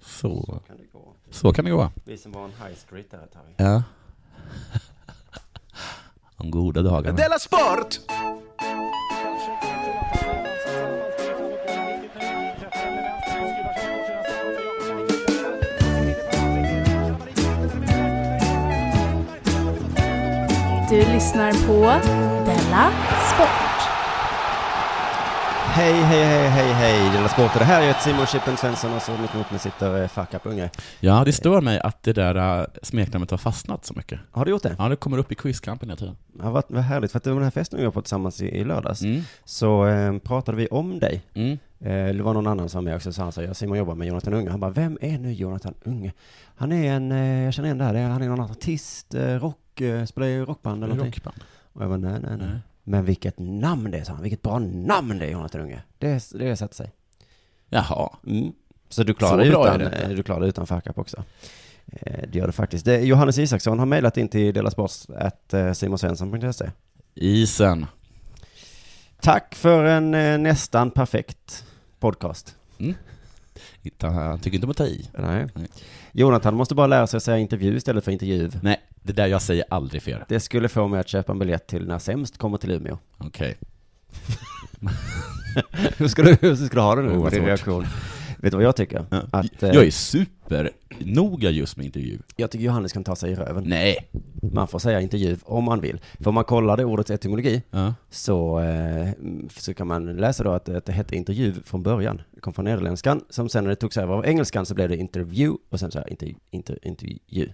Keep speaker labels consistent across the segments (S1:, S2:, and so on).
S1: Så,
S2: kan det gå.
S1: så kan det gå.
S2: Vi som var en high street där ett tag.
S1: Ja. De goda dagarna.
S3: Della Sport!
S4: Du lyssnar på Della Sport.
S2: Hej, hej, hej, hej, hej. Della Sport. Och Det här är ju ett Simon Chippen Svensson och så mitt emot mig sitter eh, Fuck Up Unge.
S1: Ja, det stör mig att det där äh, smeknamnet har fastnat så mycket.
S2: Har du gjort det?
S1: Ja, det kommer upp i quizkampen hela tiden.
S2: Ja, vad, vad härligt. För att det var den här festen vi var på tillsammans i, i lördags.
S1: Mm.
S2: Så eh, pratade vi om dig.
S1: Mm.
S2: Eh, det var någon annan som var med också, så han sa, jag Simon jobbar med Jonathan Unge. Han bara, vem är nu Jonathan Unge? Han är en, eh, jag känner igen det här, Det är- han är någon artist, eh, rock, eh, spelar i rockband eller någonting.
S1: Rockband.
S2: Och jag bara, nej, nej, nej.
S1: Nej.
S2: Men vilket namn det är, sa han. Vilket bra namn det är, Jonathan Unge. Det, det satte sig.
S1: Jaha.
S2: Mm. Så du
S1: Så
S2: klarar dig
S1: bra är
S2: utan,
S1: det inte.
S2: eh, du klarar dig utan fuck-up också. Eh, Det gör det faktiskt. Det, Johannes Isaksson har mejlat in till eh, delasports.simonsvensson.se.
S1: Isen.
S2: Tack för en eh, nästan perfekt podcast.
S1: Inte- Han tycker inte om att ta i.
S2: Nej.
S1: Nej.
S2: Jonathan måste bara lära sig att säga intervju istället för intervju.
S1: Nej, det där jag säger aldrig fel.
S2: Det skulle få mig att köpa en biljett till När Sämst kommer till Umeå.
S1: Okej.
S2: hur, ska du, hur ska du ha det nu?
S1: Oh, vad
S2: med din
S1: svårt.
S2: reaktion. Vet du vad jag tycker? Att, eh,
S1: Jag är supernoga just med intervju.
S2: jag tycker Johannes kan ta sig i röven.
S1: Nej.
S2: Man får säga intervju om man vill. För om man kollar det ordets etymologi
S1: Ja.
S2: så, eh, så kan man läsa då att, att det hette intervju från början. Det kom från nederländskan, som sen när det togs över av engelskan så blev det interview och sen så här inter, inter, intervju.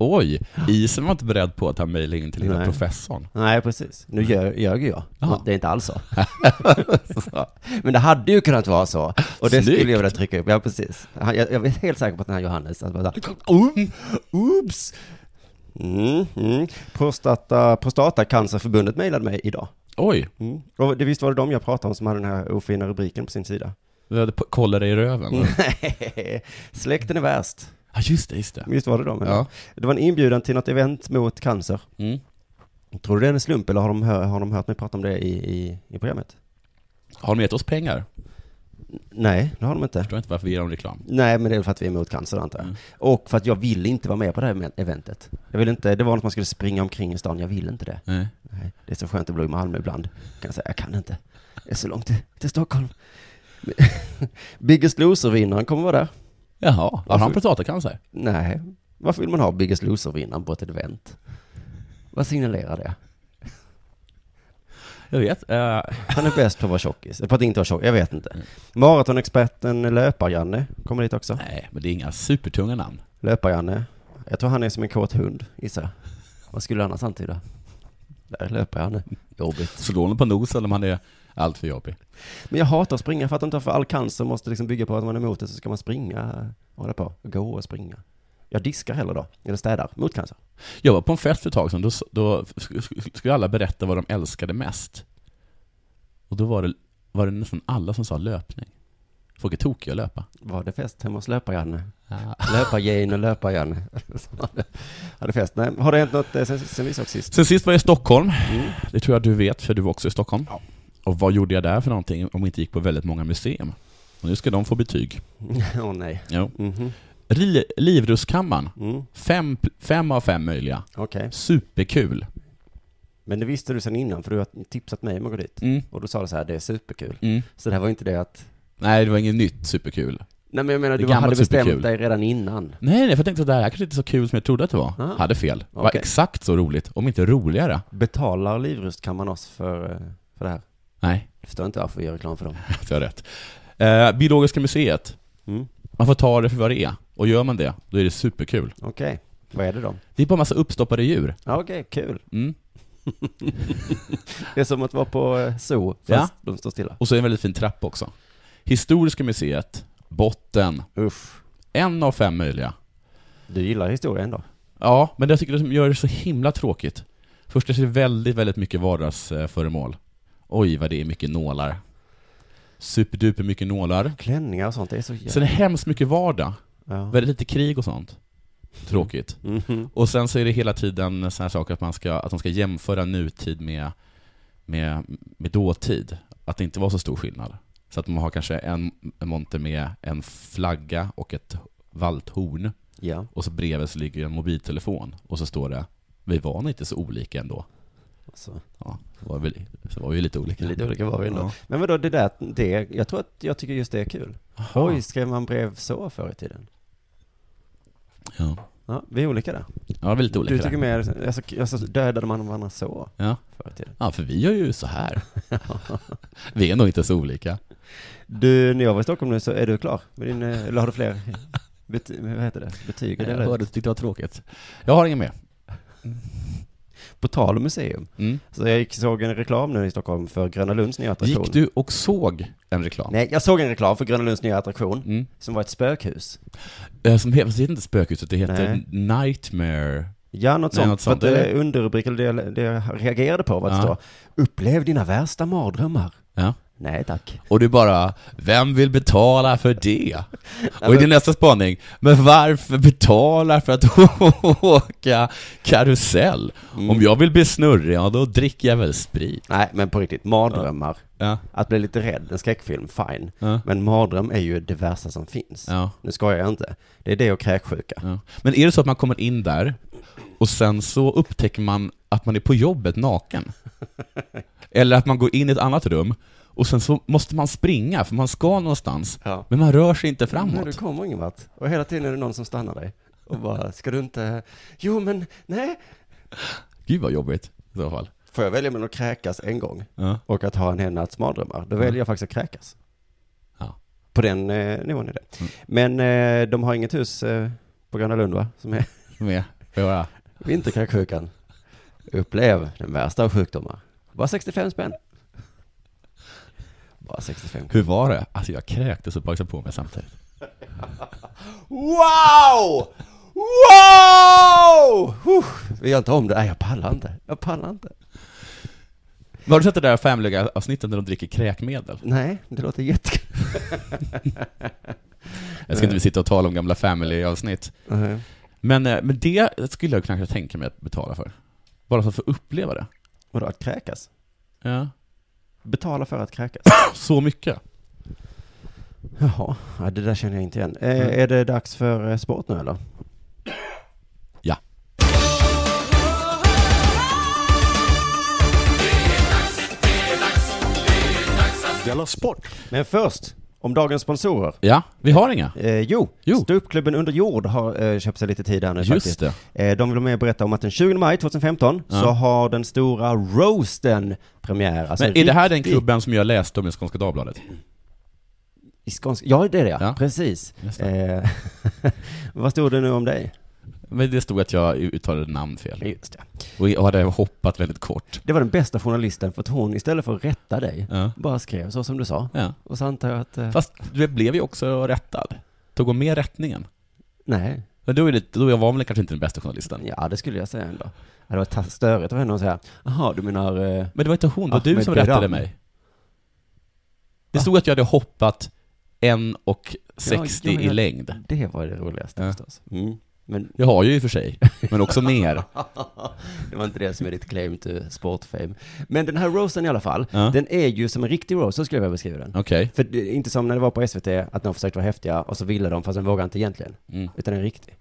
S1: Oj, isen var inte beredd på att han mejlade in till lilla
S2: Nej.
S1: professorn.
S2: Nej, precis. Nu gör- ljög jag.
S1: Ja.
S2: Det är inte alls så. Så. Men det hade ju kunnat vara så. Och det
S1: Snyggt.
S2: skulle jag vilja trycka upp. Ja, precis. Han- Jag, jag är helt säker på att den här Johannes, att bara,
S1: Mm.
S2: Um, oops! Mm, mm. Prostata, Prostatacancerförbundet mejlade mig idag.
S1: Oj,
S2: Mm. Och det, visst var det de jag pratade om som hade den här ofina rubriken på sin sida?
S1: vi hade på- kolla dig i röven.
S2: Mm. Nej, släkten är värst.
S1: Ja, just det, just det.
S2: Visst var det de? eller?
S1: Ja.
S2: Det var en inbjudan till något event mot cancer.
S1: Mm.
S2: Tror du det är en slump eller har de, hör, har de hört mig prata om det i, i, i programmet?
S1: Har de gett oss pengar?
S2: Nej, det har de inte.
S1: Jag förstår inte varför vi ger dem reklam.
S2: Nej, men det är för att vi är emot cancer antar jag.
S1: Mm.
S2: Och för att jag vill inte vara med på det här event- eventet. Jag vill inte, det var något man skulle springa omkring i stan, jag vill inte det.
S1: Nej.
S2: Nej, det är så skönt att bo i Malmö ibland. Kan jag säga, jag kan inte. Det är så långt till, till Stockholm. Men- Biggest Loser-vinnaren kommer vara där.
S1: Jaha, har
S2: Varför-
S1: han prostatacancer?
S2: Nej, varför vill man ha Biggest Loser-vinnaren på ett event? Vad signalerar det?
S1: Jag vet. Eh,
S2: Han är bäst på att vara tjockis, på att inte vara tjock, jag vet inte. Maratonexperten Löpar-Janne kommer dit också.
S1: nej, men det är inga supertunga namn.
S2: Löpar-Janne. Jag tror han är som en kåt hund, gissar jag. Vad skulle han annars antyda? Där löper Janne. Jobbigt.
S1: Slår honom på nosen om han är allt för jobbig.
S2: Men jag hatar att springa, för att inte för all cancer måste liksom bygga på att man är emot det, så ska man springa, hålla på, gå och springa. Jag diskar hellre då, eller städar, mot cancer.
S1: Jag var på en fest för ett tag sedan, då, då skulle alla berätta vad de älskade mest. Och då var det, var det nästan alla som sa löpning. Folk är tokiga att löpa.
S2: Var det fest hemma hos Löpar-Janne?
S1: Ja.
S2: Löpar-Jane och Löpar-Janne. Som hade- Hade fest. Nej, har det hänt något eh, sen, sen vi såg sist?
S1: Sen sist var jag i Stockholm.
S2: Mm.
S1: Det tror jag du vet, för du var också i Stockholm. Och vad gjorde jag där för någonting om jag inte gick på väldigt många museum? Och nu ska de få betyg.
S2: Åh nej.
S1: Jo.
S2: Mhm.
S1: Ri- Livrustkammaren.
S2: Mm.
S1: Fem, fem av fem möjliga.
S2: Okej.
S1: Superkul.
S2: Men det visste du sen innan, för du har tipsat mig om att gå dit.
S1: Mm.
S2: Och då sa du så här, det är superkul.
S1: Mm.
S2: Så det här var inte det att
S1: Nej, det var inget nytt superkul.
S2: Nej men jag menar,
S1: Det är
S2: du hade
S1: gammalt
S2: bestämt
S1: superkul.
S2: dig redan innan.
S1: Nej, nej, för jag tänkte att det här kanske inte är så kul som jag trodde att det var.
S2: Ah.
S1: Hade fel. Det var
S2: Okej.
S1: exakt så roligt, om inte roligare.
S2: Betalar Livrustkammaren oss för, eh, för det här?
S1: Nej,
S2: Jag förstår inte varför vi gör reklam för dem.
S1: jag har rätt. Eh, Biologiska museet.
S2: Mm.
S1: Man får ta det för vad det är. Och gör man det, då är det superkul.
S2: Okej, vad är det då?
S1: Det är bara massa uppstoppade djur.
S2: Ja, Okej, kul.
S1: Mm.
S2: Det är som att vara på eh, zoo, fast
S1: Ja.
S2: de står stilla.
S1: Och så är det en väldigt fin trappa också. Historiska museet, botten,
S2: Usch.
S1: en av fem möjliga.
S2: Du gillar historia ändå.
S1: Ja, men det jag tycker det som gör det så himla tråkigt. Först är det väldigt, väldigt mycket vardagsföremål. Oj, vad det är mycket nålar. Superduper mycket nålar.
S2: Klänningar och sånt, det är så jävla...
S1: Sen är det hemskt mycket vardag.
S2: Ja.
S1: Väldigt lite krig och sånt. Tråkigt.
S2: Mhm.
S1: Och sen så är det hela tiden sådana här saker att man ska, att de ska jämföra nutid med, med, med dåtid. Att det inte var så stor skillnad. Så att man har kanske en en monter med en flagga och ett Valthorn
S2: Ja.
S1: och så bredvid så ligger en mobiltelefon och så står det Vi var nog inte så olika ändå.
S2: Alltså.
S1: Ja, så var vi, så var vi lite olika.
S2: Lite olika var vi ändå.
S1: Ja.
S2: Men vadå, det där, det, jag tror att jag tycker just det är kul. Oj, skrev man brev så förr i tiden?
S1: Ja.
S2: Ja, vi är olika där.
S1: ja, vi är lite olika
S2: du tycker
S1: där.
S2: mer, alltså, alltså dödade man varandra så
S1: Ja.
S2: förr i tiden?
S1: ja, för vi gör ju så här. vi är nog inte så olika.
S2: Du, när jag var i Stockholm nu så är du klar med din, eh, eller har du fler, bet, vad heter det, betyg?
S1: Jag
S2: Eller?
S1: hörde att du tyckte det var tråkigt. Jag har inget mer.
S2: På tal om museum,
S1: Mm.
S2: så jag gick, såg en reklam nu i Stockholm för Gröna Lunds nya attraktion.
S1: Gick du och såg en reklam?
S2: Nej, jag såg en reklam för Gröna Lunds nya attraktion,
S1: Mm.
S2: som var ett spökhus.
S1: Eh, Som heter, det heter inte Spökhuset, det heter
S2: Nej.
S1: Nightmare.
S2: Ja, något
S1: Nej,
S2: sånt.
S1: något
S2: för
S1: sånt,
S2: att
S1: eller?
S2: det underrubriken, det, det jag reagerade på var att
S1: Ja.
S2: det stod Upplev dina värsta mardrömmar.
S1: Ja.
S2: Nej tack.
S1: Och du bara, vem vill betala för det? Och i din nästa spaning, men varför betalar för att åka karusell?
S2: Mm.
S1: Om jag vill bli snurrig, ja då dricker jag väl sprit.
S2: Nej, men på riktigt, mardrömmar.
S1: Ja,
S2: Att bli lite rädd, en skräckfilm, fine.
S1: ja,
S2: Men mardröm är ju det värsta som finns.
S1: ja,
S2: Nu skojar jag inte. Det är det och kräksjuka.
S1: ja. Men är det så att man kommer in där och sen så upptäcker man att man är på jobbet naken? Eller att man går in i ett annat rum och sen så måste man springa för man ska någonstans,
S2: Ja.
S1: men man rör sig inte
S2: Nej, du
S1: framåt.
S2: kommer ingen vart. Och hela tiden är det någon som stannar dig. Och bara, ska du inte... Jo, men nej.
S1: Gud vad jobbigt i så fall.
S2: Får jag välja mellan att kräkas en gång
S1: Ja.
S2: och att ha en hel natts mardrömmar, då väljer jag faktiskt att kräkas.
S1: Mm. Ja.
S2: På den eh, nivån är det.
S1: Mm.
S2: Men eh, de har inget hus eh, på Gröna Lund, va? Som är
S1: Med, får jag höra?
S2: vinterkräksjukan. Upplev den värsta av sjukdomar. Bara 65 spänn. Bara 65
S1: Hur var det? Alltså jag kräktes och bajsade på mig samtidigt.
S2: Wow! Wow! Huh. Vi gör inte om det. Nej, jag pallar inte. Jag pallar inte.
S1: Men Har du sett det där Family Guy-avsnittet när de dricker kräkmedel?
S2: Nej, det låter jättekul.
S1: Jag ska inte vi sitta och tala om gamla Family-avsnitt.
S2: Nej.
S1: Men, eh, men det skulle jag kanske tänka mig att betala för. Bara för att få uppleva det.
S2: Vadå, att kräkas?
S1: Ja.
S2: Betala för att kräkas?
S1: Så mycket.
S2: Jaha, ja, det där känner jag inte igen. Eh,
S1: Mm.
S2: Är det dags för eh, sport nu eller?
S1: Ja.
S3: Della Sport!
S2: Men först, om dagens sponsorer.
S1: Ja, vi har inga.
S2: Eh, jo,
S1: Jo.
S2: Ståuppklubben Under Jord har eh, köpt sig lite tid här nu
S1: Just
S2: faktiskt.
S1: det.
S2: Eh, de vill vara med och berätta om att den 20 maj 2015
S1: Ja.
S2: så har den stora roasten premiär. Alltså
S1: Men är det här den
S2: riktig-
S1: klubben som jag läste om i Skånska Dagbladet?
S2: I skånsk... Ja, det är det ja.
S1: Ja.
S2: Precis.
S1: Just
S2: Eh, vad stod det nu om dig?
S1: Men det stod att jag uttalade namn fel.
S2: Just det.
S1: Och jag hade hoppat väldigt kort.
S2: Det var den bästa journalisten för att hon istället för att rätta dig
S1: Ja.
S2: bara skrev så som du sa.
S1: ja.
S2: Och så antar jag att... Eh,
S1: Fast du blev ju också rättad. Tog hon med rättningen?
S2: nej.
S1: Men då, är det, då var man kanske inte den bästa journalisten.
S2: Ja, det skulle jag säga ändå. Ja, Det var ta- störigt av henne att säga, jaha, du menar... Eh,
S1: Men det var inte hon, det var
S2: Ahmed
S1: du som
S2: Beran.
S1: rättade mig. Det stod att jag hade hoppat en och 60
S2: Ja, ja, ja.
S1: i längd.
S2: det var det roligaste
S1: Ja.
S2: förstås. Mm. Men
S1: Jag har ju i och för sig, men också mer.
S2: det var inte det som är ditt claim to sportfame. Men den här roasten i alla fall,
S1: Ja.
S2: den är ju som en riktig roast, så skulle jag vilja beskriva den.
S1: Okej.
S2: För det är inte som när det var på SVT, att de försökte vara häftiga och så ville de, fast de vågade inte egentligen.
S1: Mm.
S2: Utan en riktig.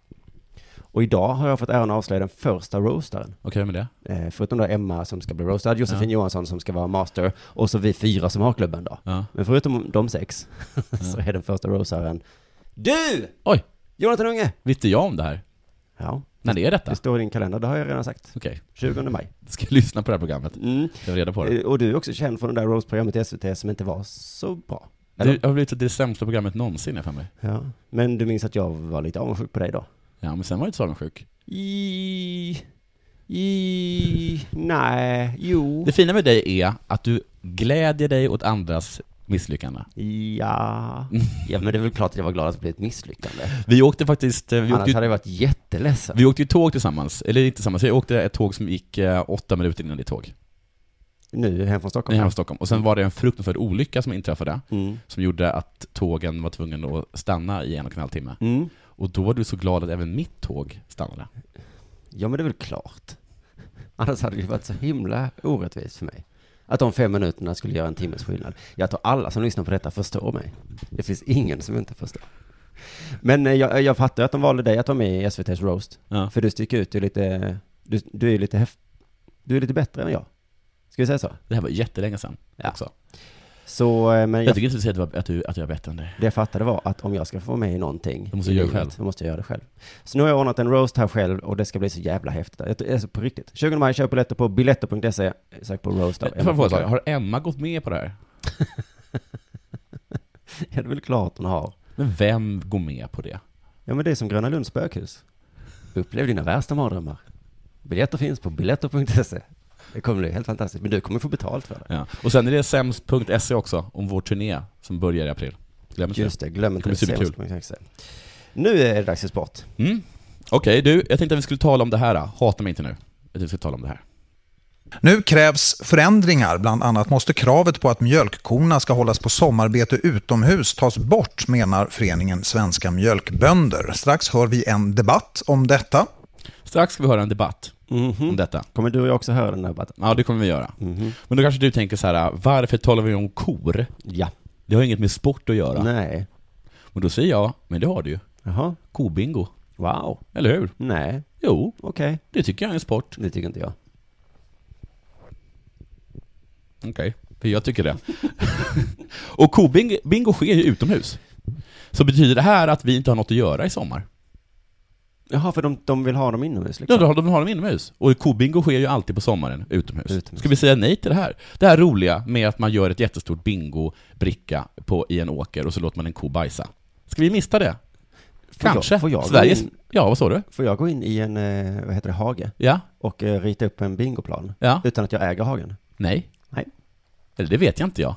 S2: Och idag har jag fått äran att avslöja den första roastaren.
S1: Okej med det.
S2: Eh, förutom då Emma som ska bli roastad, Josefin
S1: Ja.
S2: Johansson som ska vara master, och så vi fyra som har klubben då.
S1: Ja.
S2: Men förutom de sex, så är den första roastaren du!
S1: Oj,
S2: Jonathan Unge!
S1: visste jag om det här?
S2: Ja,
S1: När är detta?
S2: det står i din kalender, det har jag redan sagt.
S1: Okej,
S2: 20 maj.
S1: ska jag lyssna på det här programmet?
S2: Mm.
S1: Jag var reda på det.
S2: Eh, Och du är också känd från det där roastprogrammet i SVT som inte var så bra. Eller?
S1: Det har blivit det sämsta programmet någonsin jag för mig.
S2: Ja. Men du minns att jag var lite avundsjuk på dig då?
S1: Ja, men sen var jag inte så avundsjuk.
S2: I... I... Nej, jo.
S1: Det fina med dig är att du glädjer dig åt andras misslyckanden.
S2: Ja.
S1: Mm.
S2: Ja, men det är väl klart att jag var glad att det blev ett misslyckande.
S1: Vi åkte faktiskt... eh, Vi
S2: Annars
S1: åkte ju
S2: hade jag varit jätteledsen.
S1: Vi åkte ju tåg tillsammans, eller inte tillsammans, jag åkte ett tåg som gick eh, åtta minuter innan ditt tåg,
S2: Nu hem från Stockholm.
S1: hem från Stockholm. Och sen var det en fruktansvärd olycka som inträffade,
S2: Mm.
S1: som gjorde att tågen var tvungna att stanna i en och en halv timme.
S2: Mm.
S1: Och då var du så glad att även mitt tåg stannade.
S2: Ja, men det är väl klart. Annars hade det ju varit så himla orättvist för mig. Att de fem minuterna skulle göra en timmes skillnad. Jag tror alla som lyssnar på detta förstår mig. Det finns ingen som inte förstår. Men eh, jag, jag fattar att de valde dig att vara med i SVT's roast.
S1: Ja.
S2: För du sticker ut, du är lite, du, du är lite häft, du är lite bättre än jag. Ska vi säga så?
S1: Det här var jättelänge sedan
S2: Ja.
S1: också.
S2: Så, eh, men
S1: Jag
S2: jag,
S1: tycker inte du säger att, du- att, du, att jag är bättre än dig.
S2: det jag fattade var att om jag ska få vara med i någonting.
S1: Då måste
S2: i
S1: du göra det
S2: livet,
S1: själv.
S2: Då måste jag göra det själv. Så nu har jag ordnat en roast här själv och det ska bli så jävla häftigt. Jag- jag- Alltså på riktigt. 20 maj, köp biljetter på biletter.se. Sök på roast. av
S1: Får jag
S2: Emma
S1: fråga en
S2: Forsberg.
S1: sak? Har Emma gått med på det här?
S2: Ja, det är väl klart hon har.
S1: Men vem går med på det?
S2: Ja, men det är som Gröna Lunds spökhus. Upplev dina värsta mardrömmar. Biljetter finns på biletter.se. Det kommer bli helt fantastiskt. Men du kommer få betalt för det.
S1: Ja. Och sen är det sämst.se E också, om vår turné som börjar i april. Glöm inte
S2: Just det, glöm inte
S1: kommer bli
S2: det. Superkul. Nu är det dags för sport.
S1: det. Mm. Okej, du. Jag tänkte att vi skulle tala om det här. då. Hata mig inte nu. Jag tänkte att vi skulle tala om det här.
S5: Nu krävs förändringar. Bland annat måste kravet på att mjölkkorna ska hållas på sommarbete utomhus tas bort, menar föreningen Svenska mjölkbönder. Strax hör vi en debatt om detta.
S1: Strax ska vi höra en debatt
S2: Mhm.
S1: om detta.
S2: Kommer du och jag också höra den här debatten?
S1: Ja, det kommer vi göra.
S2: Mhm.
S1: Men då kanske du tänker så här, varför talar vi om kor?
S2: Ja.
S1: Det har inget med sport att göra.
S2: Nej.
S1: Men då säger jag, men det har du ju.
S2: Jaha.
S1: Kobingo.
S2: Wow.
S1: Eller hur?
S2: Nej.
S1: Jo,
S2: Okej.
S1: det tycker jag är en sport.
S2: Det tycker inte jag.
S1: Okej, för jag tycker det. och kobingo bingo sker ju utomhus. Så betyder det här att vi inte har något att göra i sommar?
S2: Jaha, för de, de vill ha dem inomhus liksom?
S1: Ja, då har de har dem inomhus. Och kobingo sker ju alltid på sommaren, utomhus.
S2: Utomhus.
S1: Ska vi säga nej till det här? Det här roliga med att man gör ett jättestort bingobricka på, i en åker och så låter man en ko bajsa. Ska vi mista det?
S2: Får jag-
S1: Kanske.
S2: får jag gå
S1: Sveriges...
S2: in?
S1: Ja, vad sa du?
S2: Får jag gå in i en, eh, vad heter det, hage?
S1: Ja?
S2: Och eh, rita upp en bingoplan?
S1: Ja?
S2: Utan att jag äger hagen?
S1: Nej?
S2: Eh, Nej.
S1: Eller det vet jag inte jag.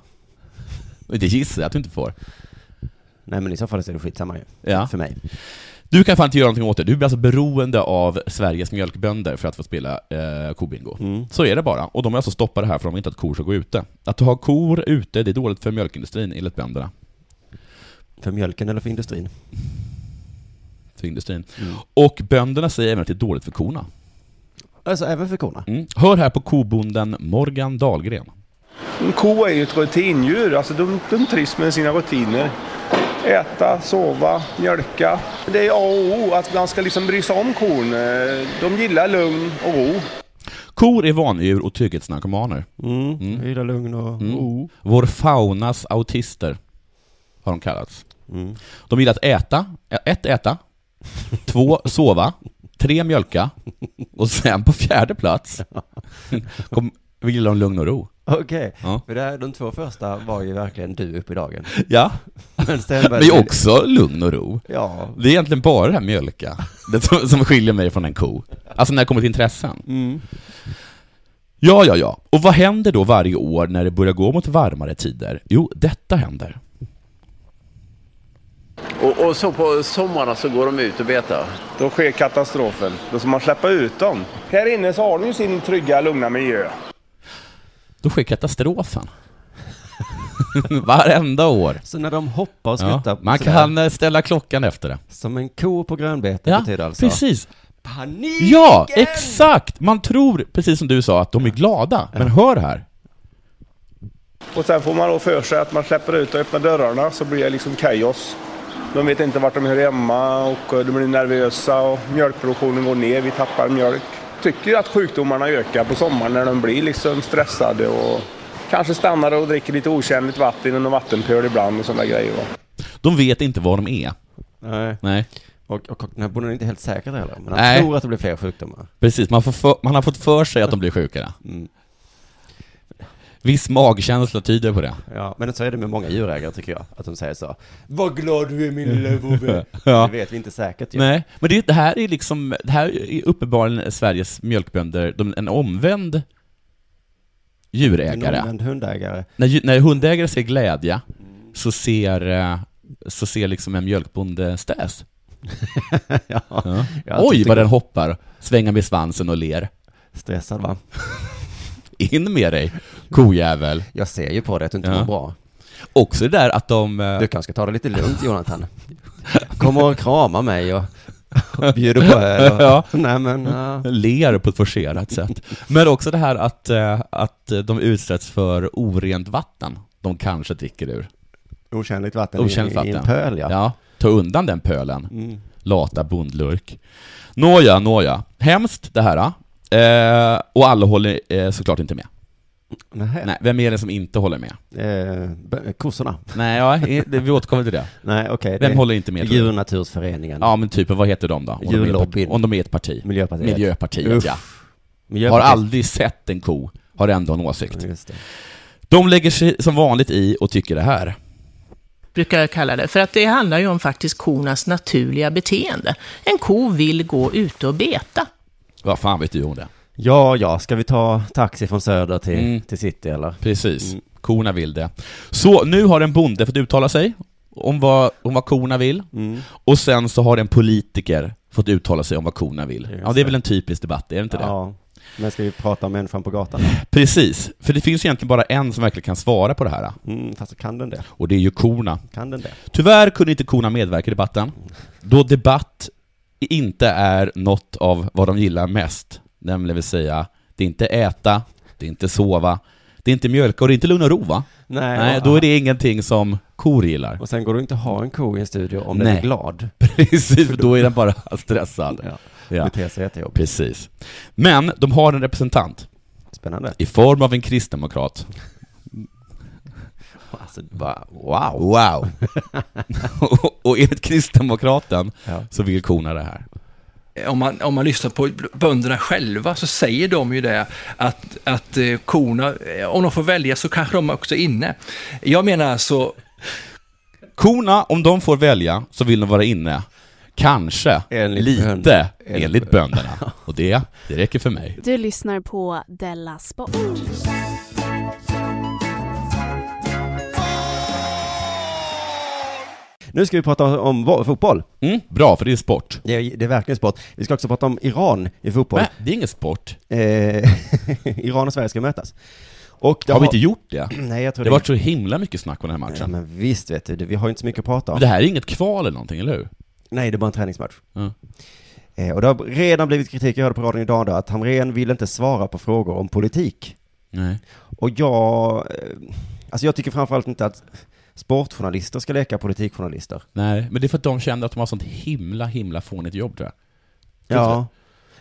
S1: Det gissar jag att du inte får.
S2: Nej, men i så fall så är det skitsamma ju.
S1: Ja.
S2: För mig.
S1: Du kan fan inte göra någonting åt det. Du blir alltså beroende av Sveriges mjölkbönder för att få spela eh, kobingo.
S2: Mm.
S1: Så är det bara. Och de har alltså stoppat det här för de vill inte att kor ska gå ute. Att ha kor ute, det är dåligt för mjölkindustrin enligt bönderna.
S2: För mjölken eller för industrin?
S1: För industrin. Och bönderna säger även att det är dåligt för korna.
S2: Alltså även för korna?
S1: Mm. Hör här på kobonden Morgan Dahlgren.
S6: En ko är ju ett rutindjur. Alltså de, de trivs med sina rutiner. Äta, sova, mjölka. Det är A och O att man ska liksom bry sig om kon. Eh, De gillar lugn och ro.
S1: Kor är vandjur och trygghetsnarkomaner.
S2: Mm. Hyra lugn och
S1: Mm.
S2: ro.
S1: Vår faunas autister har de kallats.
S2: Mm.
S1: De gillar att äta, ett äta, två sova, tre mjölka och sen på fjärde plats kom, vi gillar de lugn och ro.
S2: Okej,
S1: Ja.
S2: för det här, de två första var ju verkligen du upp i dagen.
S1: Ja,
S2: Men sen
S1: men ju också lugn och ro.
S2: Ja.
S1: Det är egentligen bara det här mjölka det som, som skiljer mig från en ko. Alltså när det kommer till intressen.
S2: Mm.
S1: Ja, ja, ja. Och vad händer då varje år när det börjar gå mot varmare tider? Jo, detta händer.
S7: Och, och så på sommarna så går de ut och betar.
S6: Då sker katastrofen. Då ska man släppa ut dem. Här inne så har de ju sin trygga, lugna miljö.
S1: Då sker katastrofen. Varenda år.
S2: Så när de hoppar och
S1: Ja,
S2: skuttar
S1: man
S2: sådär,
S1: kan eh, ställa klockan efter det.
S2: som en ko på grönbete betyder alltså
S1: precis.
S2: panik!
S1: Ja, exakt! Man tror, precis som du sa, att de är glada. Men hör här.
S6: Och sen får man då för sig att man släpper ut och öppnar dörrarna så blir det liksom kaos. De vet inte vart de hör hemma och eh, de blir nervösa och mjölkproduktionen går ner, vi tappar mjölk. Tycker att sjukdomarna ökar på sommaren när de blir liksom stressade och kanske stannar och dricker lite otjänligt vatten i någon vattenpöl ibland och sådana grejer. va.
S1: De vet inte vad de är.
S2: Nej.
S1: Nej.
S2: Och, och, och den här bonden är inte helt säker heller, men han
S1: Nej.
S2: tror att det blir fler sjukdomar.
S1: Precis, man, får för, man har fått för sig att de blir sjukare.
S2: Mm.
S1: Viss magkänsla tyder på det.
S2: Ja, men så är det med många djurägare tycker jag, att de säger så. Vad glad du är min lilla vovve.
S1: Ja.
S2: Det vet vi inte säkert ju.
S1: Nej, men det, det här är liksom, det här är uppenbarligen Sveriges mjölkbönder, de, en omvänd
S2: En
S1: djurägare.
S2: omvänd hundägare.
S1: När, dju- när hundägare ser glädje, så ser, eh, så ser liksom en mjölkbonde stäs.
S2: ja.
S1: Ja.
S2: Jag har
S1: Oj,
S2: alltid
S1: vad den hoppar, svänger med svansen och ler.
S2: tyckt- Stressad va?
S1: In med dig, kojävel.
S2: Jag ser ju på dig att du inte
S1: Ja.
S2: mår bra.
S1: Också det där att de... eh,
S2: Du kanske ska ta det lite lugnt Jonathan. Kom och krama mig och, och bjuder på öl. Och,
S1: Ja.
S2: Nej men, ja.
S1: ler på ett forcerat sätt. Men också det här att, eh, att eh, de utsätts för orent vatten de kanske dricker ur.
S2: otjänligt vatten
S1: Otjänligt
S2: i, i en
S1: vatten.
S2: pöl ja. Mm.
S1: Ja. ta undan den pölen. Lata bondlurk. Nåja, nåja. Hemskt det här. Eh, och alla håller eh, såklart inte med.
S2: Nähä.
S1: Nej, vem är det som inte håller med?
S2: Eh, b- kossorna?
S1: Nej, ja, eh, det- vi återkommer till det.
S2: Nej, okej.
S1: Vem
S2: det-
S1: håller inte med, tror du?
S2: Djurnaturföreningen.
S1: Ja, men typ, vad heter de då? Om de är ett
S2: Djurlobbyn.
S1: parti- Om de är ett parti.
S2: Miljöpartiet.
S1: Miljöpartiet,
S2: Uff.
S1: ja. Har
S2: Miljöpartiet.
S1: aldrig sett en ko, har ändå en åsikt.
S2: Just det.
S1: De lägger sig som vanligt i och tycker det här.
S8: brukar jag kalla det, för att det handlar ju om faktiskt kornas naturliga beteende. En ko vill gå ute och beta.
S1: Vad fan vet du om det?
S2: Ja, ja, ska vi ta taxi från söder till,
S1: Mm.
S2: till city eller?
S1: Precis.
S2: Mm.
S1: Korna vill det. Så nu har en bonde fått uttala sig om vad, om vad korna vill.
S2: Mm.
S1: Och sen så har en politiker fått uttala sig om vad korna vill. Ja, det är väl en typisk debatt, är det inte det?
S2: Ja. Men ska vi prata om människan på gatan?
S1: Precis. För det finns egentligen bara en som verkligen kan svara på det här.
S2: Mm, fast kan den det?
S1: Och det är ju korna.
S2: Kan den det?
S1: Tyvärr kunde inte korna medverka i debatten, då debatt inte är något av vad de gillar mest. Nämligen vill säga, det är inte äta, det är inte sova, det är inte mjölka och det är inte lugn och ro va?
S2: Nej,
S1: Nej
S2: ja.
S1: då är det ingenting som kor gillar.
S2: Och sen går du inte att ha en ko i en studio om den
S1: Nej.
S2: är glad.
S1: Precis, för då är den bara stressad.
S2: Ja.
S1: Ja,
S2: Beter sig jättejobbigt.
S1: precis. Men de har en representant
S2: Spännande.
S1: i form av en kristdemokrat.
S2: Alltså,
S1: Va- Wow! Wow! och, och enligt kristdemokraten
S2: Ja.
S1: så vill korna det här.
S9: Eh, om man, om man lyssnar på bönderna själva så säger de ju det att, att eh, korna, eh, om de får välja så kanske de också är inne. Jag menar alltså,
S1: Korna, om de får välja, så vill de vara inne. Kanske
S2: Enligt
S1: lite
S2: bönder.
S1: enligt bönderna. Och det, det räcker för mig.
S4: Du lyssnar på Della Sport.
S2: nu ska vi prata om vo- fotboll.
S1: Mm, bra, för det är sport.
S2: Det är, det är verkligen sport. Vi ska också prata om Iran i fotboll.
S1: Nej, det är ingen sport.
S2: Eh, Iran och Sverige ska mötas. Och det
S1: Har vi inte gjort det?
S2: Nej, jag tror
S1: Det
S2: det.
S1: har varit så himla mycket snack om den här
S2: Ja,
S1: matchen.
S2: men visst vet du, det- vi har ju inte så mycket att prata om.
S1: Men det här är inget kval eller någonting, eller hur?
S2: Nej, det är bara en träningsmatch.
S1: Ja.
S2: Eh, och det har redan blivit kritik, jag hörde på radion idag då, att Hamrén vill inte svara på frågor om politik.
S1: Nej.
S2: Och jag, eh, alltså jag tycker framförallt inte att sportjournalister ska leka politikjournalister.
S1: Nej, men det är för att de kände att de har sånt himla, himla fånigt jobb tror jag.
S2: Ja.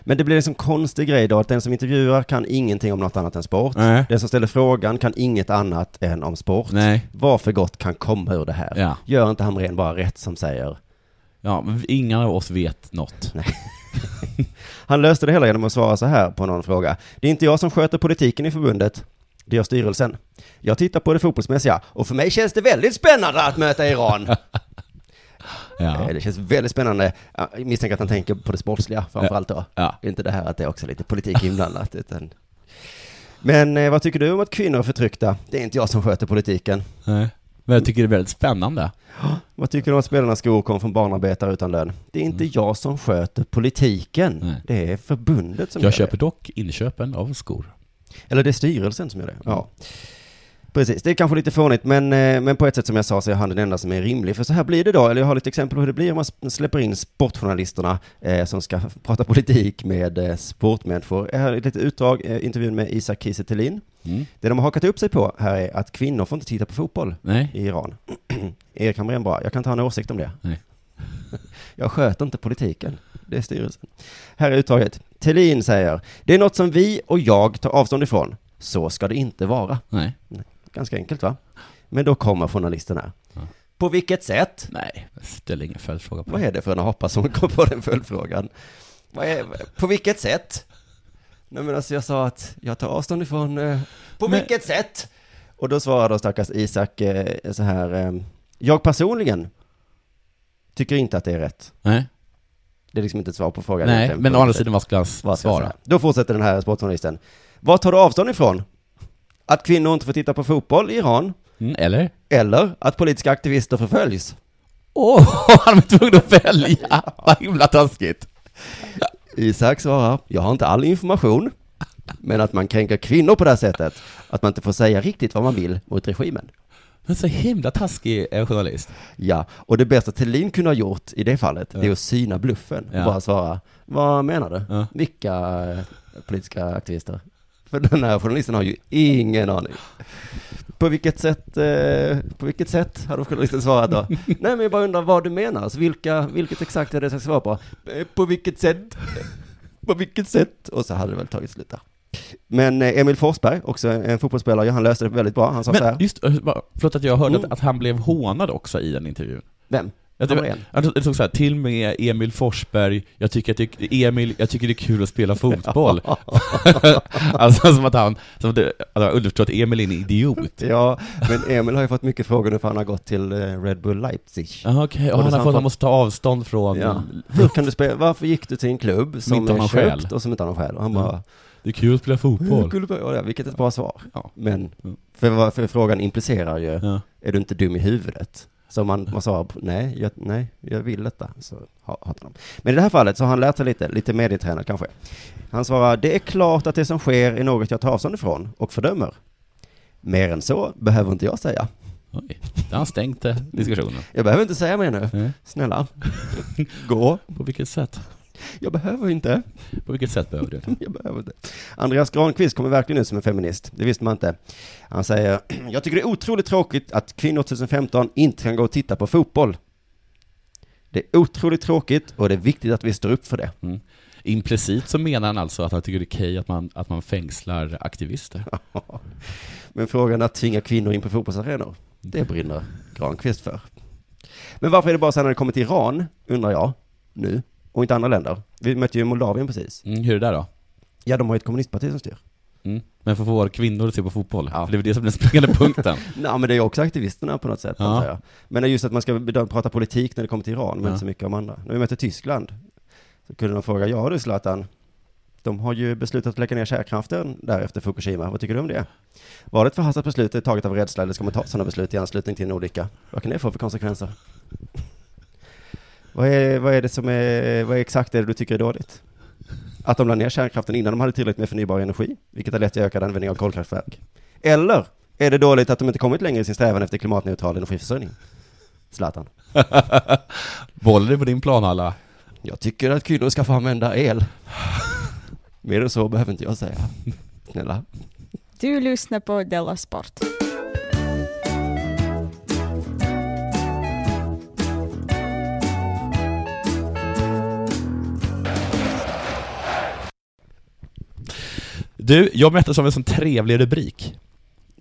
S2: Men det blir en sån konstig grej då, att den som intervjuar kan ingenting om något annat än sport.
S1: Nej.
S2: Den som ställer frågan kan inget annat än om sport.
S1: Nej.
S2: Vad för gott kan komma ur det här?
S1: Ja.
S2: Gör inte Hamrén bara rätt som säger.
S1: Ja, men ingen av oss vet något.
S2: Han löste det hela genom att svara så här på någon fråga. Det är inte jag som sköter politiken i förbundet. Det gör styrelsen. Jag tittar på det fotbollsmässiga och för mig känns det väldigt spännande att möta Iran.
S1: Ja.
S2: Eh, Det känns väldigt spännande. Jag misstänker att han tänker på det sportsliga framförallt då.
S1: Ja.
S2: Inte det här att det är också lite politik inblandat. Utan... Men eh, vad tycker du om att kvinnor är förtryckta? Det är inte jag som sköter politiken.
S1: Nej. Men jag tycker det är väldigt spännande.
S2: Vad tycker du om att spelarnas skor kom från barnarbetare utan lön? Det är inte jag som sköter politiken.
S1: Mm. Nej.
S2: Det är förbundet som gör
S1: Jag
S2: det.
S1: köper dock inköpen av skor.
S2: Eller det är styrelsen som gör det. Ja. Precis, det är kanske lite fånigt, men, eh, men på ett sätt som jag sa så är han den enda som är rimlig. För så här blir det då, eller jag har lite exempel på hur det blir om man s- släpper in sportjournalisterna eh, som ska prata politik med eh, sportmänniskor. Jag har ett litet utdrag, eh, intervjun med Isak Kiese Thelin. Det de har hakat upp sig på här är att kvinnor får inte titta på fotboll
S1: Nej.
S2: i Iran. Erik Hamrén bara, jag kan inte ha en åsikt om det.
S1: Nej.
S2: Jag sköter inte politiken. Det är styrelsen. Här är uttaget. Thelin säger, det är något som vi och jag tar avstånd ifrån. Så ska det inte vara.
S1: Nej.
S2: Ganska enkelt va? Men då kommer journalisten här. På vilket sätt?
S1: Nej. Ställ ingen följdfråga på
S2: Vad
S1: det.
S2: är det för en apa som kom på den följdfrågan? Vad är, på vilket sätt? Nej men alltså jag sa att jag tar avstånd ifrån... eh, På vilket sätt? Och då svarar då stackars Isak eh, så här. eh, Jag personligen tycker inte att det är rätt.
S1: Nej.
S2: Det är liksom inte ett svar på frågan.
S1: Nej,
S2: egentligen.
S1: men
S2: På
S1: å andra
S2: vilket
S1: sidan, vad skulle han
S2: Vad ska jag
S1: svara?
S2: säga? Då fortsätter den här sportjournalisten. Vad tar du avstånd ifrån? Att kvinnor inte får titta på fotboll i Iran?
S1: Mm, eller?
S2: Eller att politiska aktivister förföljs?
S1: Åh, han var tvungen att välja! Vad himla taskigt!
S2: Isak svarar, jag har inte all information, men att man kränker kvinnor på det här sättet, att man inte får säga riktigt vad man vill mot regimen.
S1: Men så himla taskig eh, journalist.
S2: Ja, och det bästa Thelin kunde ha gjort i det fallet, det är att syna bluffen
S1: Ja.
S2: och bara svara, vad menar du?
S1: Ja.
S2: Vilka eh, politiska aktivister? För den här journalisten har ju ingen aning. På vilket sätt, eh, på vilket sätt hade journalisten svarat då? Nej men jag bara undrar vad du menar, alltså, vilka, vilket exakt är det jag ska svara på? Eh, På vilket sätt? På vilket sätt? Och så hade det väl tagit slut där. Men eh, Emil Forsberg, också en, en fotbollsspelare, han löste det väldigt bra. Han sa så
S1: Men
S2: här,
S1: just, eh, bara- förlåt att jag hörde
S2: Mm.
S1: att, att han blev hånad också i den intervjun.
S2: vem?
S1: Jag tycker-
S2: Hamrén.
S1: Han det stod så här, till och med Emil Forsberg, jag tycker att det, Emil, jag tycker det är kul att spela fotboll. alltså som att han, som att det, alltså, underförstått, Emil är en idiot.
S2: Ja, men Emil har ju fått mycket frågor nu för han har gått till eh, Red Bull Leipzig.
S1: Jaha okej,
S2: Och
S1: och han
S2: det
S1: har
S2: sa
S1: fått,
S2: han
S1: han måste ta avstånd från,
S2: Ja. Hur kan du spela, varför gick du till en klubb som
S1: inte har
S2: är
S1: någon
S2: köpt
S1: själ.
S2: och som inte har någon själ? Och han bara,
S1: det är kul att spela
S2: "Hur
S1: fotboll.
S2: kul det var." Ja, vilket är ett bra svar.
S1: Ja.
S2: Men,
S1: Mm.
S2: för, vad- för frågan implicerar ju,
S1: Ja.
S2: är du inte dum i huvudet? Så man, man sa, nej jag, nej, jag vill detta. Så ha- hatar de. Men i det här fallet så har han lärt sig lite, lite medietränad kanske. Han svarar, det är klart att det som sker är något jag tar avstånd ifrån och fördömer. Mer än så behöver inte jag säga.
S1: Oj, där har han stängt eh, diskussionen.
S2: Jag behöver inte säga mer nu.
S1: Nej.
S2: Snälla, gå.
S1: På vilket sätt?
S2: Jag behöver inte.
S1: På vilket sätt behöver du det?
S2: Jag behöver inte. Andreas Granqvist kommer verkligen ut som en feminist. Det visste man inte. Han säger, jag tycker det är otroligt tråkigt att kvinnor 2015 inte kan gå och titta på fotboll. Det är otroligt tråkigt och det är viktigt att vi står upp för det.
S1: Implicit så menar han alltså att han tycker det är okej att man, att man fängslar aktivister.
S2: Men frågan att tvinga kvinnor in på fotbollsarenor, det brinner Granqvist för. Men varför är det bara så här när det kommer till Iran, undrar jag, nu, och inte andra länder? Vi mötte ju Moldavien precis.
S1: Mm, hur är det där då?
S2: Ja, de har ju ett kommunistparti som styr.
S1: Mm. Men för att få våra kvinnor att se på fotboll? För det är väl det som är den springande punkten?
S2: Nej, men det är ju också aktivisterna på något sätt,
S1: Ja.
S2: antar jag. Men det är just att man ska bedöma, prata politik när det kommer till Iran, men
S1: Ja.
S2: inte så mycket om andra. När vi mötte Tyskland så kunde de fråga, ja du Zlatan, de har ju beslutat att lägga ner kärnkraften där efter Fukushima, vad tycker du om det? Var det ett förhastat beslut det är taget av rädsla eller ska man ta sådana beslut i anslutning till en olycka? Vad kan det få för konsekvenser? Vad är, vad är det som är, vad är exakt det du tycker är dåligt? Att de la ner kärnkraften innan de hade tillräckligt med förnybar energi, vilket har lett till ökad användning av kolkraftverk. Eller är det dåligt att de inte kommit längre i sin strävan efter klimatneutral energiförsörjning? Zlatan.
S1: Bollen är på din plan alla.
S2: Jag tycker att kvinnor ska få använda el. Mer än så behöver inte jag säga. Snälla.
S10: Du lyssnar på Della Sport.
S1: Du, jag möttes av en sån trevlig rubrik.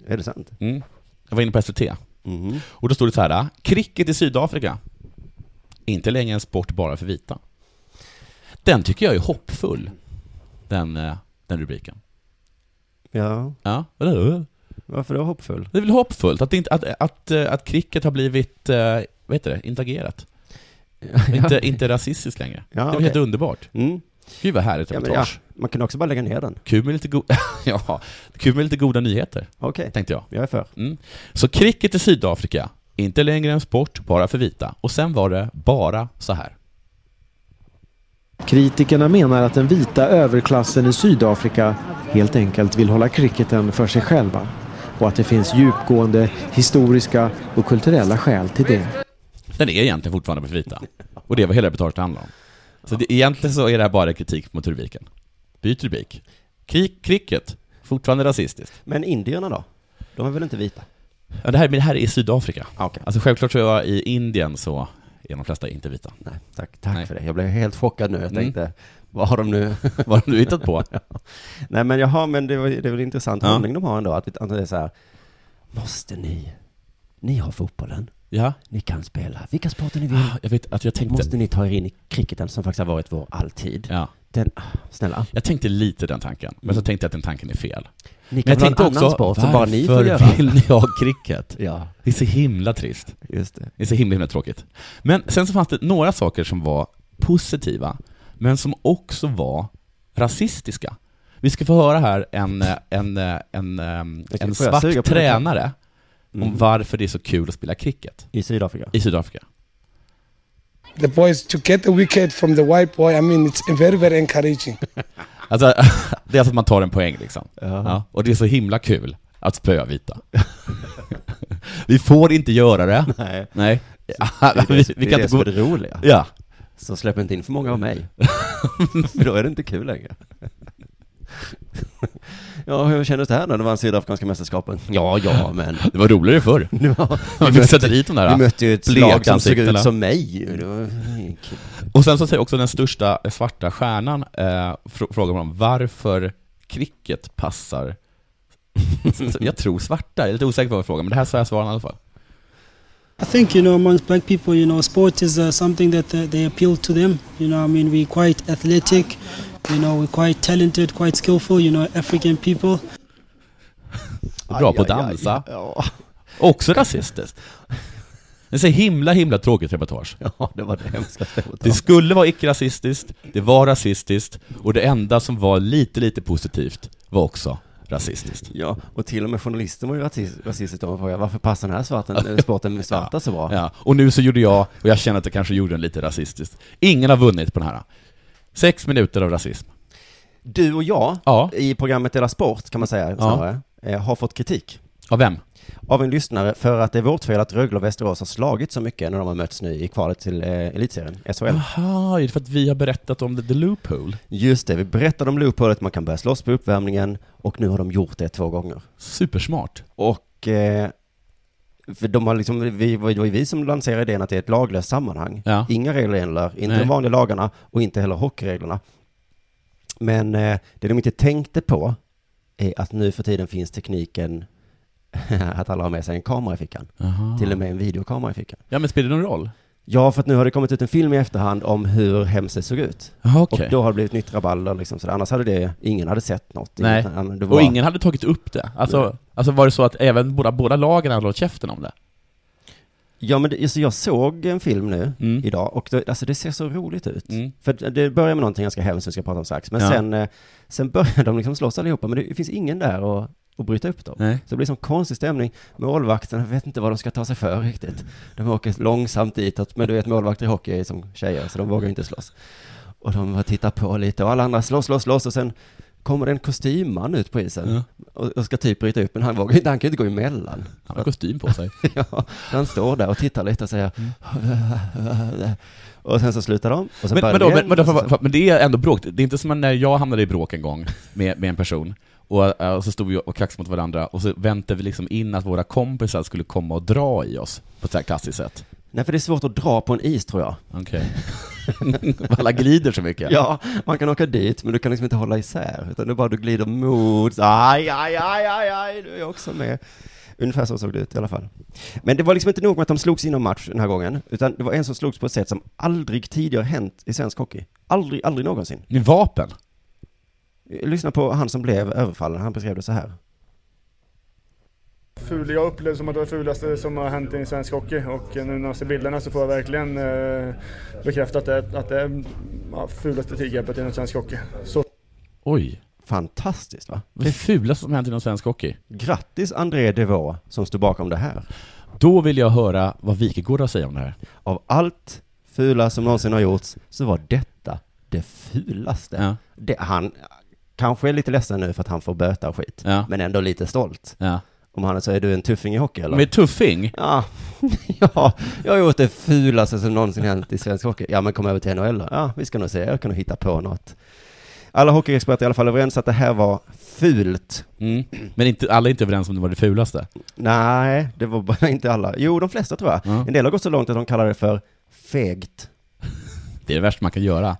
S2: Är det sant?
S1: Mm. Jag var inne på SVT.
S2: Mhm.
S1: Och då stod det så här, cricket i Sydafrika. Inte längre en sport bara för vita. Den tycker jag är hoppfull, den, eh, den rubriken.
S2: Ja,
S1: Ja, vadå?
S2: varför då hoppfull?
S1: det är väl hoppfullt att, det inte, att, att, eh, att cricket har blivit, eh, vad heter det, intagerat. Inte, inte rasistiskt längre. det
S2: Ja,
S1: är väl
S2: Ah, okej.
S1: helt underbart.
S2: Mm.
S1: Gud vad härligt
S2: Ja,
S1: reportage.
S2: men, ja. Man kunde också bara lägga ner den.
S1: Kul med lite go- ja, kul med lite goda nyheter,
S2: Okej,
S1: tänkte jag.
S2: jag är för.
S1: Så cricket i Sydafrika, inte längre en sport bara för vita. Och sen var det bara så här.
S11: Kritikerna menar att den vita överklassen i Sydafrika helt enkelt vill hålla cricketen för sig själva och att det finns djupgående historiska och kulturella skäl till det.
S1: Den är egentligen fortfarande för vita. Och det var hela reportaget handlade om. Så det, egentligen så är det här bara kritik mot rubriken. Byt rubrik. Kri- cricket, fortfarande rasistiskt.
S2: Men indierna då? De är väl inte vita?
S1: Ja, det, här, men det här är i Sydafrika.
S2: Okej.
S1: Alltså självklart så är i Indien så är de flesta inte vita.
S2: Nej, tack, tack
S1: Nej.
S2: för det. Jag blev helt chockad nu. Jag
S1: Mm.
S2: tänkte, vad har de nu?
S1: Vad har de nu hittat på?
S2: Nej men jaha, men det, var, det är väl en intressant
S1: Ja.
S2: hållning de har ändå, att vi- att det är så här, måste ni, ni har fotbollen,
S1: Ja,
S2: ni kan spela vilka sporter ni vill,
S1: jag vet att jag
S2: måste
S1: Ah, tänkte...
S2: ni ta er in i cricketen som faktiskt har varit vår alltid.
S1: Ja,
S2: Den, ah, snälla,
S1: jag tänkte lite den tanken, men så tänkte jag att den tanken är fel.
S2: ni
S1: Men
S2: kan
S1: jag
S2: väl ha en
S1: tänkte
S2: annan
S1: också,
S2: sport som
S1: varför
S2: bara ni får göra.
S1: vill ni ha cricket?
S2: Ja,
S1: Det är så himla trist.
S2: just det.
S1: Det är så himla, himla tråkigt. Men sen så fanns det några saker som var positiva, men som också var rasistiska. Vi ska få höra här en, eh, en, eh, en, en,
S2: Okej,
S1: en
S2: får jag suga
S1: svart
S2: på det?
S1: tränare om
S2: Mm.
S1: varför det är så kul att spela cricket
S2: I Sydafrika.
S1: i Sydafrika.
S11: The boys to get the wicket from the white boy, I mean it's very very encouraging.
S1: Alltså, det är alltså att man tar en poäng liksom. Ja, och det är så himla kul att spöa vita. Vi får inte göra det.
S2: Nej.
S1: Nej.
S2: Det är det,
S1: vi,
S2: det,
S1: vi
S2: är
S1: kan
S2: det
S1: inte
S2: som är
S1: gå...
S2: det roliga.
S1: Ja.
S2: Så släpp inte in för många av mig. för då är det inte kul längre. ja, hur kändes det här när du vann Sydafrikanska mästerskapen? Ja, ja, men...
S1: Det var roligare förr.
S2: Ja,
S1: Man fick sätta dit de där
S2: Vi mötte ju ett slag som såg ut
S1: blekansikterna.
S2: som mig. Det var-
S1: Och sen så säger också den största svarta stjärnan, eh, fr- frågar man om varför cricket passar, jag tror svarta, jag är lite osäker på vad jag frågar, men det här sa jag svaren i alla fall.
S12: I think, you know, amongst black people, you know, sport is uh, something that uh, they appeal to them. You know, I mean, we're quite athletic, you know, we're quite talented, quite skillful, you know, African people.
S1: Bra på att dansa. Också rasistiskt. Det är så himla, himla tråkigt reportage.
S2: Ja, det var det hemska
S1: Det skulle vara icke-rasistiskt, det var rasistiskt, och det enda som var lite, lite positivt var också rasistiskt.
S2: Ja, och till och med journalisten var ju rasist- rasistisk om frågade varför passar den här svarten, eh, sporten med svarta så bra?
S1: Ja. Och nu så gjorde jag, och jag känner att jag kanske gjorde den lite rasistiskt. Ingen har vunnit på den här. Sex minuter av rasism.
S2: Du och jag, i programmet Dela Sport kan man säga snarare, eh, har fått kritik.
S1: Av vem?
S2: Av en lyssnare för att det är vårt fel att Rögle och Västerås har slagit så mycket när de har mötts nu i kvalet till eh, elitserien, SHL.
S1: Jaha, är det för att vi har berättat om the, the loophole?
S2: Just det, vi berättade om loopholet, man kan börja slåss på uppvärmningen och nu har de gjort det två gånger.
S1: Supersmart.
S2: Och eh, för de har liksom, vi, det var ju vi som lanserade idén att det är ett laglöst sammanhang.
S1: Ja.
S2: Inga regler gäller, inte
S1: Nej.
S2: de vanliga lagarna och inte heller hockeyreglerna. Men eh, det de inte tänkte på är att nu för tiden finns tekniken att alla har med sig en kamera i fickan.
S1: Aha.
S2: Till och med en videokamera i fickan.
S1: Ja, men spelar det någon roll?
S2: Ja, för att nu har det kommit ut en film i efterhand om hur hemskt det såg ut.
S1: Jaha, okej.
S2: Och då har det blivit nytt rabalder liksom, så där. annars hade det, ingen hade sett något.
S1: Nej,
S2: Ingen- det
S1: och
S2: var-
S1: ingen hade tagit upp det. Alltså, alltså var det så att även båda, båda lagen hade hållit käften om det?
S2: Ja men det, alltså jag såg en film nu
S1: Mm.
S2: idag och det, alltså det ser så roligt ut. För det börjar med någonting ganska hemskt som vi ska prata om strax. Men
S1: Ja.
S2: sen, eh, sen börjar de liksom slåss allihopa men det finns ingen där och och bryta upp dem.
S1: Nej.
S2: Så det blir som konstig stämning. Målvakterna vet inte vad de ska ta sig för riktigt. De åker långsamt ditåt, men du vet målvakter i hockey är som tjejer, så de vågar inte slåss. Och de bara tittar på lite och alla andra slåss, slåss, slåss och sen kommer det en kostymman ut på isen och, och ska typ bryta upp, men han vågar inte, han kan ju inte gå emellan.
S1: Han har kostym på sig.
S2: ja, han står där och tittar lite och säger Och sen så slutar de. Och sen
S1: Men,
S2: börjar
S1: men,
S2: de
S1: då,
S2: igen,
S1: men, men, då,
S2: och sen
S1: för, för, men det är ändå bråk. Det är inte som när jag hamnade i bråk en gång med, med en person, och, eh, och så stod vi och kaxade mot varandra, och så väntade vi liksom in att våra kompisar skulle komma och dra i oss, på ett så här klassiskt sätt.
S2: Nej, för det är svårt att dra på en is tror jag.
S1: Okej. Alla glider så mycket.
S2: Ja, man kan åka dit, men du kan liksom inte hålla isär, utan det är bara du glider mot, så, aj, aj, aj, aj, aj, du är också med. Ungefär så såg det ut i alla fall. Men det var liksom inte nog med att de slogs inom match den här gången, utan det var en som slogs på ett sätt som aldrig tidigare hänt i svensk hockey. Aldrig, aldrig någonsin.
S1: Med vapen?
S2: Lyssna på han som blev överfallen, han beskrev det så här.
S13: Ful, jag upplevde som att det var det fulaste som har hänt i svensk hockey och nu när jag ser bilderna så får jag verkligen eh, bekräftat det, att det är ja, fulaste tillgreppet inom svensk hockey. Så
S1: Oj.
S2: Fantastiskt va?
S1: Det fulaste som hänt inom svensk hockey.
S2: Grattis André Devaux som stod bakom det här.
S1: Då vill jag höra vad Wikegård har att säga om det här.
S2: Av allt fula som någonsin har gjorts så var detta det fulaste. Det, han kanske är lite ledsen nu för att han får böta och skit, men ändå lite stolt. Om han säger du är en tuffing i hockey eller?
S1: Med tuffing?
S2: Ja. ja, jag har gjort det fulaste som någonsin hänt i svensk hockey. Ja, men kom över till NHL då. Ja, vi ska nog se, jag kan nog hitta på något. Alla hockeyexperter är i alla fall överens att det här var fult.
S1: Men inte, alla är inte överens om det var det fulaste.
S2: Nej, det var bara inte alla. Jo, de flesta tror jag. En del har gått så långt att de kallar det för fegt.
S1: Det är det värsta man kan göra.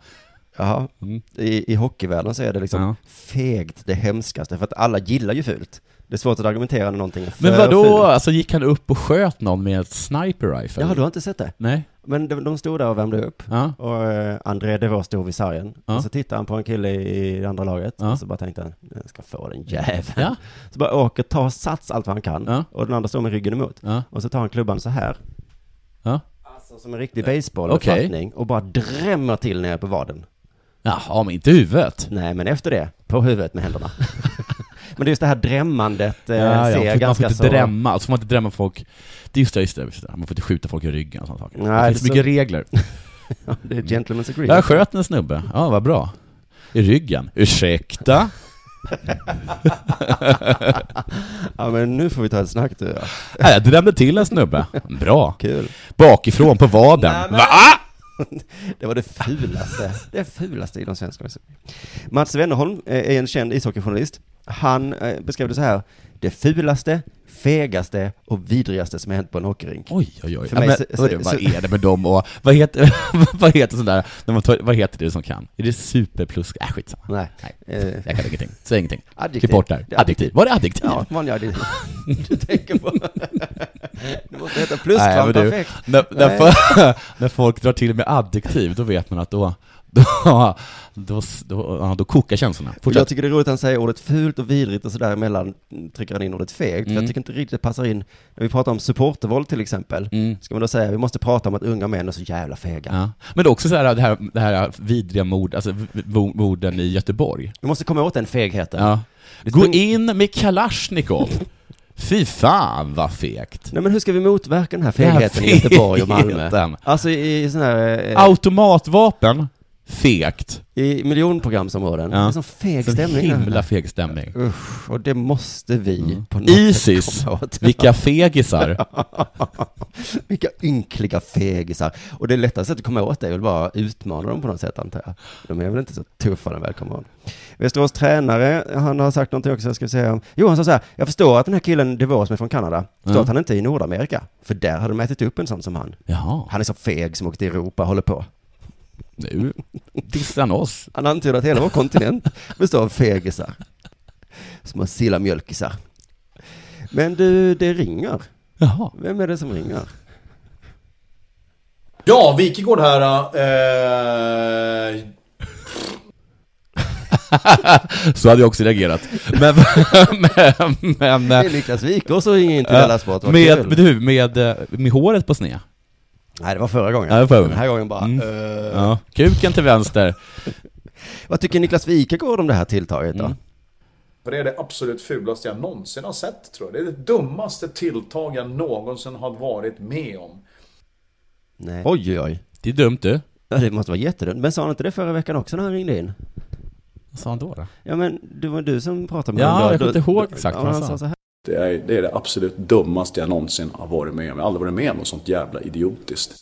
S2: Ja,
S1: Mm.
S2: i, i hockeyvärlden så är det liksom fegt det hemskaste, för att alla gillar ju fult. Det är svårt att argumentera när någonting är för
S1: Men vadå?
S2: fult.
S1: Alltså gick han upp och sköt någon med ett sniper rifle?
S2: Ja, du har inte sett det?
S1: Nej.
S2: Men de, de stod där och värmde upp, och eh, André Devaux stod vid sargen,
S1: Ja.
S2: och så tittade han på en kille i det andra laget,
S1: Ja.
S2: och så bara tänkte han, jag ska få den jäveln.
S1: Ja.
S2: Så bara åker, tar sats allt vad han kan, och den andra står med ryggen emot, och så tar han klubban så här.
S1: Ja.
S2: Alltså som en riktig baseball
S1: Okej.
S2: och bara drämmer till nere på vaden.
S1: Jaha, men inte huvudet?
S2: Nej, men efter det, på huvudet med händerna. men det är just det här drämmandet eh,
S1: ja, ja,
S2: ser
S1: för man får
S2: ganska
S1: inte
S2: så...
S1: drämma, alltså får man inte drämma folk. Det är just det, just det, just det. Man får inte skjuta folk i ryggen och sådana saker.
S2: Nej,
S1: det finns
S2: det är så-
S1: mycket regler.
S2: Ja, det är gentleman's agreement.
S1: Jag sköt en snubbe, ja vad bra. I ryggen. Ursäkta?
S2: ja men nu får vi ta ett snack du ja.
S1: Nej, jag drämde till en snubbe. Bra.
S2: Kul.
S1: Bakifrån på vaden. Va?
S2: Det var det fulaste, det fulaste i de svenska. Mats Wennerholm eh, är en känd ishockeyjournalist. Han eh, beskrev det så här. Det fulaste, fegaste och vidrigaste som har hänt på en hockeyrink.
S1: Oj, oj, oj.
S2: För
S1: Ja,
S2: mig
S1: men,
S2: så-
S1: hörru,
S2: så-
S1: vad
S2: så-
S1: är det med dem och vad heter, vad heter sådär, när man tar, vad heter det som kan? Är det superplus? Äh, skitsamma.
S2: Nej.
S1: Nej. Jag kan ingenting. Säg ingenting.
S2: Eh. Adjektiv.
S1: Klipp bort där.
S2: Det är
S1: Adjektiv. Var det adjektiv?
S2: Ja, vanliga adjektiv. Du tänker på... Det måste heta plus
S1: Nej, men
S2: fan
S1: du,
S2: perfekt.
S1: När, när,
S2: Nej.
S1: fo- när folk drar till med adjektiv, då vet man att då, då, då, då, då, ja, då kokar känslorna.
S2: Och
S1: Fortsätt.
S2: jag tycker det är roligt att han säger ordet fult och vidrigt och sådär emellan mm, trycker han in ordet fegt. För
S1: Mm.
S2: jag tycker inte riktigt det passar in. När vi pratar om supportervåld till exempel, ska man då säga vi måste prata om att unga män är så jävla fega.
S1: Mm. Ja. Men det är också så här, det här, det här vidriga mord, alltså v- v- morden i Göteborg.
S2: Vi måste komma åt den fegheten.
S1: Ja.
S2: Det
S1: Gå
S2: spring-
S1: in med Kalashnikov. Fy fan vad fegt.
S2: Nej men hur ska vi motverka den här
S1: Den här
S2: fegheten i Göteborg och
S1: fegheten.
S2: Malmö? Alltså i sådana här... eh,
S1: Automatvapen, fegt.
S2: I miljonprogramsområden. Det är sån feg
S1: Sån
S2: stämning.
S1: himla feg stämning.
S2: Usch, och det måste vi på något
S1: Isis,
S2: sätt komma åt.
S1: vilka fegisar.
S2: Vilka ynkliga fegisar. Och det lättaste sättet att komma åt det är väl bara att utmana dem på något sätt, antar jag. De är väl inte så tuffa när de väl kommer åt. Västerås tränare, han har sagt någonting också, jag ska säga. Jo, han sa så här, jag förstår att den här killen DeVore som är från Kanada, förstår
S1: Mm.
S2: att han inte är i Nordamerika. För där har de ätit upp en sån som han.
S1: Jaha.
S2: Han är så feg som åker till Europa och håller på.
S1: Nu dissar han oss.
S2: Han antyder att hela vår kontinent består av fegisar. Små sillamjölkisar. Men du, det ringer.
S1: Jaha.
S2: Vem är det som ringer?
S14: Ja, Wikegård här. Eh,
S1: Så hade jag också reagerat. Men, men, men...
S2: Det är Niklas Wikås som ringer in till
S1: Ja,
S2: Della Sport. Vad
S1: Med,
S2: kul. Eh.
S1: med, du, med, eh, med håret på sned.
S2: Nej, det var förra gången.
S1: Ja, det var förra gången.
S2: Den här gången bara...
S1: Mm.
S2: eh.
S1: Ja. Kuken till vänster.
S2: Vad tycker Niklas Wikegård om det här tilltaget då?
S1: Mm.
S14: För det är det absolut fulaste jag någonsin har sett tror jag. Det är det dummaste tilltag jag någonsin har varit med om.
S2: Nej. Oj, oj.
S1: Det är dumt du.
S2: Ja, det måste vara jättedumt. Men sa han inte det förra veckan också när han ringde in?
S1: Vad sa han då? då?
S2: Ja, men det var du som pratade med
S1: Ja,
S2: honom. då.
S1: jag kommer
S2: Då-
S1: inte ihåg
S2: då-
S1: exakt
S2: ja,
S1: vad han
S2: han
S1: sa.
S2: sa. Så här.
S14: Det är, det är det absolut dummaste jag någonsin har varit med om. Jag har aldrig varit med om något sånt jävla idiotiskt.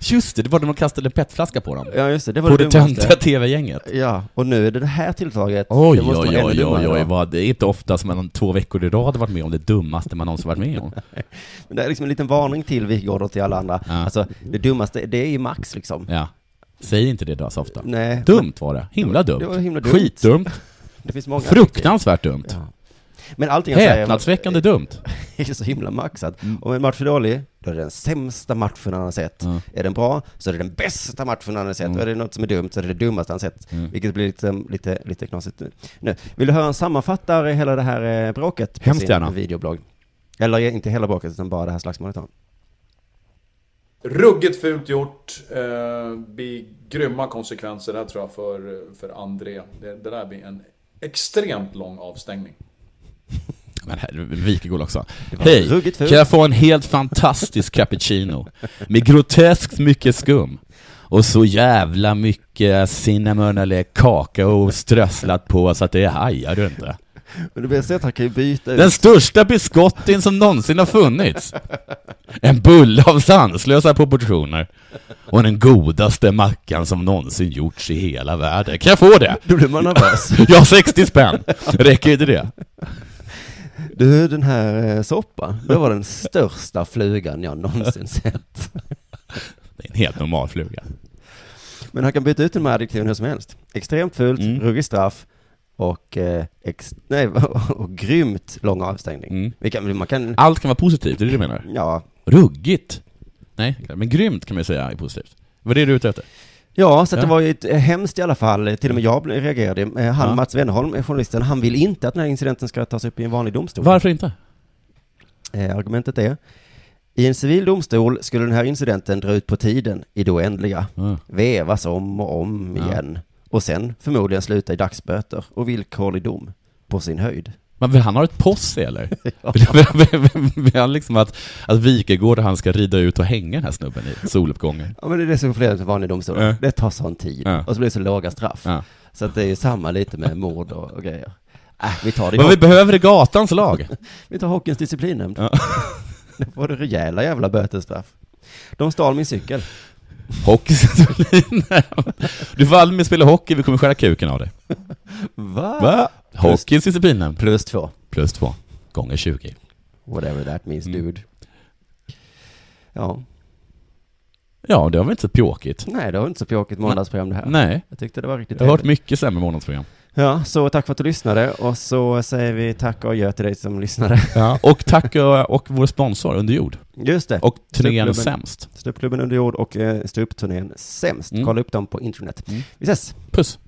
S1: Just det, det var när de kastade petflaska på dem.
S2: Ja, just det. Det var
S1: på
S2: det
S1: det
S2: dummaste.
S1: töntiga TV-gänget.
S2: Ja, och nu är det det här tilltaget.
S1: Oj,
S2: det
S1: oj,
S2: måste vara
S1: oj,
S2: ännu
S1: oj, oj,
S2: dummare, va?
S1: vad- det är inte ofta som man två veckor i rad har varit med om det dummaste man någonsin varit med om.
S2: Men det är liksom en liten varning till Wikegård och till alla andra. Alltså, det dummaste, det är ju max liksom.
S1: Ja. Säg inte det då så ofta.
S2: Nej.
S1: Dumt var det. Himla dumt.
S2: Det var himla dumt.
S1: Skitdumt.
S2: Det finns många
S1: Fruktansvärt dumt.
S2: Men allting han säger-
S1: Häpnadsväckande dumt.
S2: Det är så himla maxat.
S1: Mm.
S2: Om en match är dålig, då är det den sämsta matchen han har sett. Är den bra, så är det den bästa matchen han har
S1: Mm.
S2: sett. Och är det något som är dumt, så är det det dummaste han sett. Vilket blir lite, lite, lite knasigt nu. nu. Vill du höra en sammanfattare i hela det här eh, bråket? På
S1: Hemskt
S2: sin
S1: gärna.
S2: videoblogg. Eller eh, inte hela bråket, utan bara det här slagsmålet. han.
S14: Ruggigt fult gjort. Eh, blir grymma konsekvenser där tror jag för, för André. Det, det där blir en extremt lång avstängning.
S1: Men här, Wikegård också.
S14: var
S1: Hej,
S14: ruggigt fult.
S1: kan jag få en helt fantastisk cappuccino med groteskt mycket skum och så jävla mycket cinnamon eller kakao strösslat på så att det hajar du inte.
S2: Men det bästa är att han kan ju byta
S1: Den
S2: ut.
S1: största biskottin som någonsin har funnits. En bulle av sanslösa proportioner. Och den godaste mackan som någonsin gjorts i hela världen. Kan jag få det?
S2: Då blir man nervös.
S1: Jag har 60 spänn. Räcker inte det?
S2: Du, den här eh, soppan, det var den största flugan jag någonsin sett.
S1: Det är en helt normal fluga.
S2: Men han kan byta ut de här adjektiven hur som helst. Extremt fult,
S1: Mm.
S2: ruggig straff och, eh, ex, nej, och grymt lång avstängning.
S1: Mm.
S2: Vi kan, man kan,
S1: Allt kan vara positivt, är det det du menar?
S2: Ja.
S1: Ruggigt? Nej, men grymt kan man ju säga är positivt. Vad är det du är ute efter?
S2: ja, så att
S1: Ja.
S2: det var ju ett, eh, hemskt i alla fall. Till och med jag blev- reagerade. Eh, Han,
S1: Ja.
S2: Mats Wennerholm, eh, journalisten, han vill inte att den här incidenten ska tas upp i en vanlig domstol.
S1: Varför inte?
S2: Eh, argumentet är i en civil domstol skulle den här incidenten dra ut på tiden i det oändliga, vevas om och om
S1: Ja.
S2: igen och sen förmodligen sluta i dagsböter och villkorlig dom på sin höjd.
S1: Men vill han ha ett posse eller? Vill- Vill han liksom att, att Wikegård och han ska rida ut och hänga den här snubben i soluppgången?
S2: Ja men det är det som flera med vanliga domstolar.
S1: Ja.
S2: Det tar sån tid.
S1: Ja.
S2: Och så blir det så låga straff. Så att det är ju samma lite med mord och, och grejer. Äh, vi tar det i
S1: Vad vi
S2: hockey.
S1: behöver är gatans lag.
S2: Vi tar hockeyns disciplinnämnd. Det var det rejäla jävla bötesstraff. De stal min cykel.
S1: Hockey Centralin. Du får aldrig mer spela hockey, vi kommer skära kuken av dig.
S2: Va?
S1: Va? Hockeyns disciplinen.
S2: Plus två.
S1: Plus två. Gånger 20.
S2: Whatever that means
S1: Mm.
S2: dude. Ja.
S1: Ja, det var väl inte så pjåkigt.
S2: Nej, det var inte så pjåkigt måndagsprogram det här.
S1: Nej.
S2: Jag tyckte det var riktigt
S1: Jag har hört
S2: trevligt.
S1: mycket sämre månadsprogram.
S2: Ja, så tack för att du lyssnade och så säger vi tack och adjö till dig som lyssnade.
S1: Ja, och tack och, och vår sponsor Underjord.
S2: Just det.
S1: Och turnén
S2: Ståuppklubben-
S1: Sämst.
S2: Ståuppklubben under jord och eh, ståuppturnén Sämst. Kolla upp dem på internet. Vi ses!
S1: Puss!